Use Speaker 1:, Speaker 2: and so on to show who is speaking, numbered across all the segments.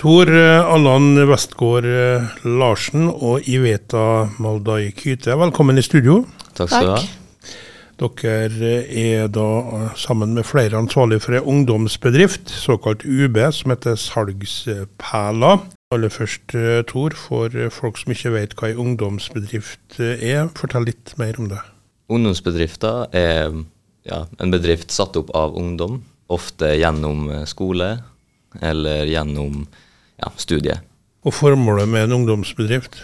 Speaker 1: Tor eh, Allan Westgård eh, Larsen og Iveta Maldai Kyte, velkommen i studio.
Speaker 2: Takk skal du ha.
Speaker 3: Takk.
Speaker 1: Dere er da eh, sammen med flere ansvarlige for en ungdomsbedrift, såkalt UB, som heter Salgsperla. Aller først, eh, Tor, for eh, folk som ikke vet hva en ungdomsbedrift eh, er, fortell litt mer om det.
Speaker 2: Ungdomsbedrifter er ja, en bedrift satt opp av ungdom, ofte gjennom eh, skole eller gjennom ja, studie.
Speaker 1: Og formålet med en ungdomsbedrift?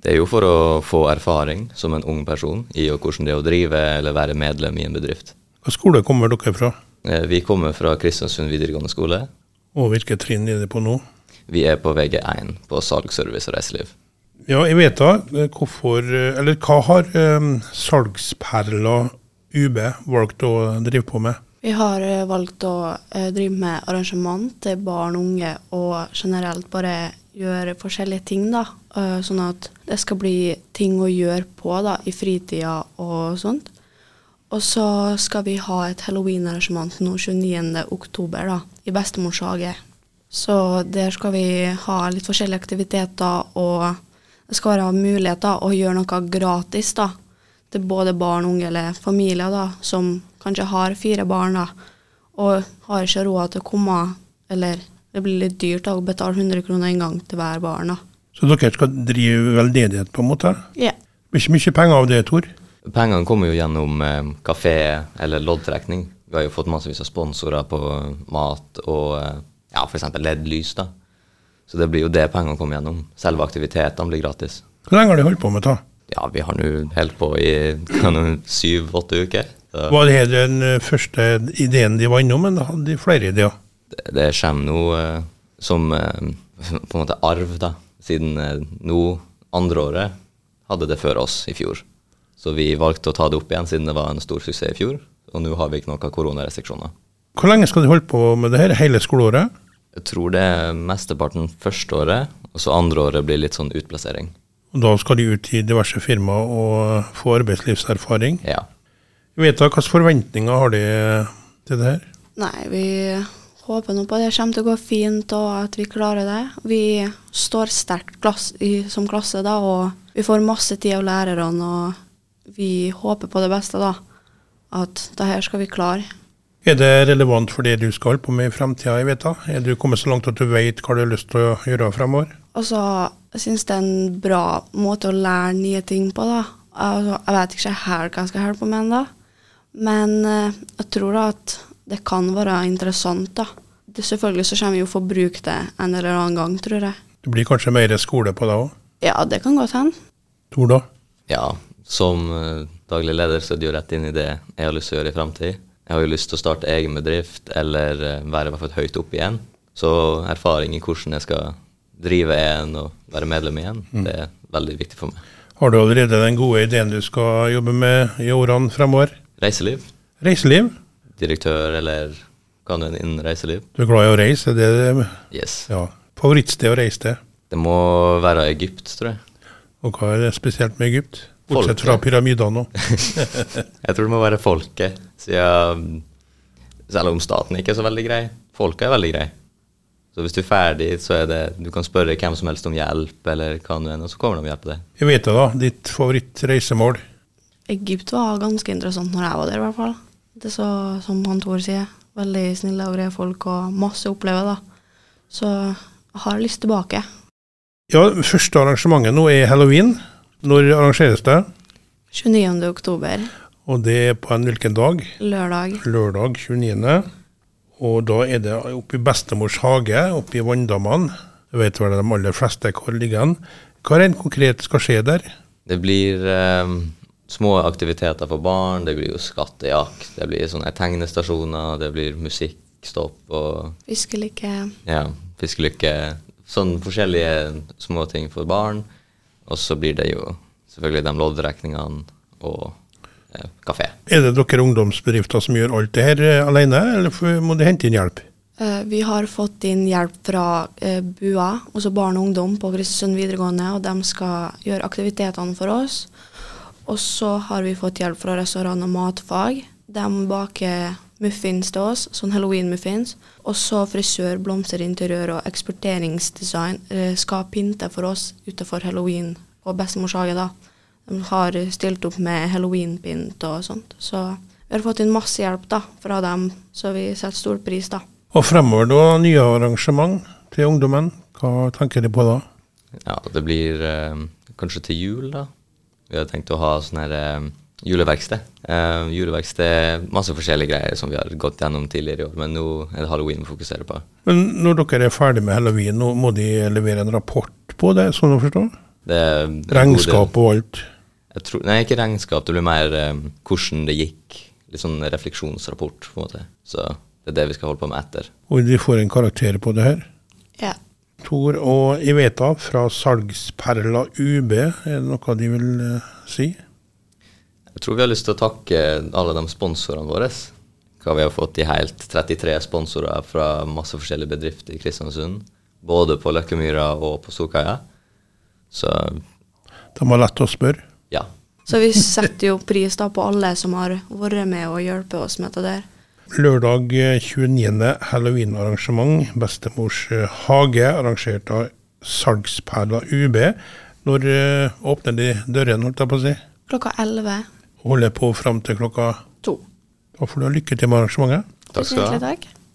Speaker 2: Det er jo for å få erfaring som en ung person i og hvordan det er å drive eller være medlem i en bedrift.
Speaker 1: Hva skole kommer dere fra,
Speaker 2: Eh, Vi kommer fra Kristiansund videregående skole.
Speaker 1: og hvilke trinn er det på nå?
Speaker 2: Vi er på VG1 på salg, service og reiseliv.
Speaker 1: Ja, jeg vet da eh, hvorfor eh, Eller hva har eh, salgsperla UB valgt å drive på med?
Speaker 3: Vi har eh, valgt å eh, drive med arrangement til barn og unge, og generelt bare gjøre forskjellige ting, da. Eh, Sånn at det skal bli ting å gjøre på da, i fritida og sånt. Og så skal vi ha et halloweenarrangement nå 29. oktober da, i bestemors hage. Så der skal vi ha litt forskjellige aktiviteter, og det skal være mulighet da, å gjøre noe gratis da, til både barn, unge eller familier da, som kanskje har fire barn da, og har ikke råd til å komme, eller det blir litt dyrt da, å betale 100 kroner en gang til hver barn. Da.
Speaker 1: Så dere skal drive veldedighet, på en måte?
Speaker 3: Ja.
Speaker 1: Det blir ikke mye penger av det, Tor.
Speaker 2: Pengene kommer jo gjennom eh, kafé eller loddtrekning. Vi har jo fått massevis av sponsorer på eh, mat og eh, ja, f.eks. LED-lys. da. Så det blir jo det pengene kommer gjennom. Selve aktivitetene blir gratis.
Speaker 1: Hvor lenge har de holdt på med det?
Speaker 2: Ja, vi har nå holdt på i syv-åtte uker. Så
Speaker 1: Var det den eh, første ideen de var innom, men da hadde de flere ideer?
Speaker 2: det, det kommer nå eh, som eh, på en måte arv, da. Siden eh, nå, andre året, hadde det før oss i fjor. Så vi valgte å ta det opp igjen siden det var en stor suksess i fjor. Og nå har vi ikke noen koronarestriksjoner.
Speaker 1: Hvor lenge skal de holde på med det her? Hele skoleåret?
Speaker 2: Jeg tror det er mesteparten første året, og så andre året blir litt sånn utplassering.
Speaker 1: Og da skal de ut i diverse firmaer og eh, få arbeidslivserfaring.
Speaker 2: Ja.
Speaker 1: Jeg vet da, Hvilke forventninger har de eh, til det her?
Speaker 3: Nei, vi håper nå på det kommer til å gå fint, og at vi klarer det. Vi står sterkt klass i, som klasse, da, og vi får masse tid av lærerne, og vi håper på det beste, da. At det her skal vi klare.
Speaker 1: Er det relevant for det du skal holde på med i fremtida, jeg vet da? Er du kommet så langt at du vet hva du har lyst til å gjøre fremover?
Speaker 3: Altså, jeg syns det er en bra måte å lære nye ting på, da. Altså, jeg vet ikke helt hva jeg skal holde på med ennå, men eh, jeg tror da at det kan være interessant, da. Det, selvfølgelig så kommer vi jo få bruke det en eller annen gang, tror jeg.
Speaker 1: Det blir kanskje mer skole på deg òg?
Speaker 3: Ja, det kan godt hende.
Speaker 1: Tor, da?
Speaker 2: ja. Som eh, daglig leder så er det jo rett inn i det jeg har lyst til å gjøre i framtid. Jeg har jo lyst til å starte egen bedrift, eller eh, være i hvert fall høyt opp igjen. Så erfaring i hvordan jeg skal drive en og være medlem igjen, det er veldig viktig for meg.
Speaker 1: Har du allerede den gode ideen du skal jobbe med i årene fremover?
Speaker 2: Reiseliv.
Speaker 1: Reiseliv?
Speaker 2: Direktør eller kan du innen reiseliv?
Speaker 1: Du er glad i å reise? er Det det
Speaker 2: Yes.
Speaker 1: ja. Favorittsted å reise til?
Speaker 2: Det må være Egypt, tror jeg.
Speaker 1: Og hva er det spesielt med Egypt? Bortsett fra
Speaker 2: Folket.
Speaker 1: pyramidene nå.
Speaker 2: Jeg tror det må være folket, siden mm, Selv om staten ikke er så veldig grei, folket er veldig grei. Så hvis du er ferdig, så er det Du kan spørre hvem som helst om hjelp, eller hva nå enn, og så kommer de og hjelper deg.
Speaker 1: Jeg vet det, da. Ditt favorittreisemål?
Speaker 3: Egypt var ganske interessant når jeg var der, i hvert fall. Det er så, som han Tor sier, veldig snille og greie folk, og masse å oppleve, da. Så jeg har lyst tilbake.
Speaker 1: Ja, første arrangementet nå er halloween. Når arrangeres det?
Speaker 3: 29. oktober,
Speaker 1: Og det er på en hvilken dag?
Speaker 3: lørdag.
Speaker 1: lørdag 29. Og da er det oppe i bestemors hage, oppe i Vanndammen. Jeg vet vel de aller fleste hvor ligger den. Hva rent konkret skal skje der?
Speaker 2: Det blir eh, små aktiviteter for barn, det blir jo skattejakt, det blir sånne tegnestasjoner, det blir musikkstopp og
Speaker 3: Fiskelike.
Speaker 2: ja, fiskelykke. Sånne forskjellige små ting for barn. Og så blir det jo selvfølgelig de loddrekningene og eh, kafé.
Speaker 1: Er det dere ungdomsbedrifter som gjør alt det her eh, alene, eller f- må du hente inn hjelp?
Speaker 3: Eh, Vi har fått inn hjelp fra eh, BUA, altså barn og ungdom på Kristiansund videregående, og de skal gjøre aktivitetene for oss. Og så har vi fått hjelp fra restaurant og matfag. De baker muffins til oss, sånn halloween-muffins. Og så frisør, blomsterinteriør og eksporteringsdesign eh, skal pynte for oss utenfor halloween på bestemors hage, da. De har stilt opp med halloweenpynt og sånt. Så vi har fått inn masse hjelp da, fra dem, så vi setter stor pris, da.
Speaker 1: Og fremover da, nye arrangement til ungdommen. Hva tenker de på da?
Speaker 2: Ja, det blir eh, kanskje til jul, da. Vi har tenkt å ha sånn her eh, juleverksted. Eh, juleverksted, masse forskjellige greier som vi har gått gjennom tidligere i år, men nå er det halloween vi fokuserer på.
Speaker 1: Men når dere er ferdig med halloween, nå må de levere en rapport på det, sånn å forstå?
Speaker 2: Det er en god del-
Speaker 1: Regnskap og alt.
Speaker 2: Jeg tror, nei, ikke regnskap. Det blir mer eh, hvordan det gikk. Litt sånn refleksjonsrapport, på en måte. Så det er det vi skal holde på med etter.
Speaker 1: Og de får en karakter på det her.
Speaker 3: Ja.
Speaker 1: Tor og Iveta fra salgsperla UB, er det noe de vil eh, si?
Speaker 2: Jeg tror vi har lyst til å takke alle de sponsorene våre. Hva vi har fått i helt 33 sponsorer fra masse forskjellige bedrifter i Kristiansund. Både på Løkkemyra og på Storkaia. Så
Speaker 1: De har lett å spørre.
Speaker 2: ja.
Speaker 3: Så vi setter jo pris da på alle som har vært med og hjulpet oss med det der.
Speaker 1: Lørdag eh, 29. halloweenarrangement, Bestemors eh, hage, arrangert av salgsperla UB. Når eh, åpner de dørene, holdt jeg på å si?
Speaker 3: Klokka 11.
Speaker 1: Holder på fram til klokka
Speaker 3: To.
Speaker 1: Da får du ha lykke til med arrangementet.
Speaker 2: Takk skal du ha.
Speaker 3: Tusen hjertelig takk.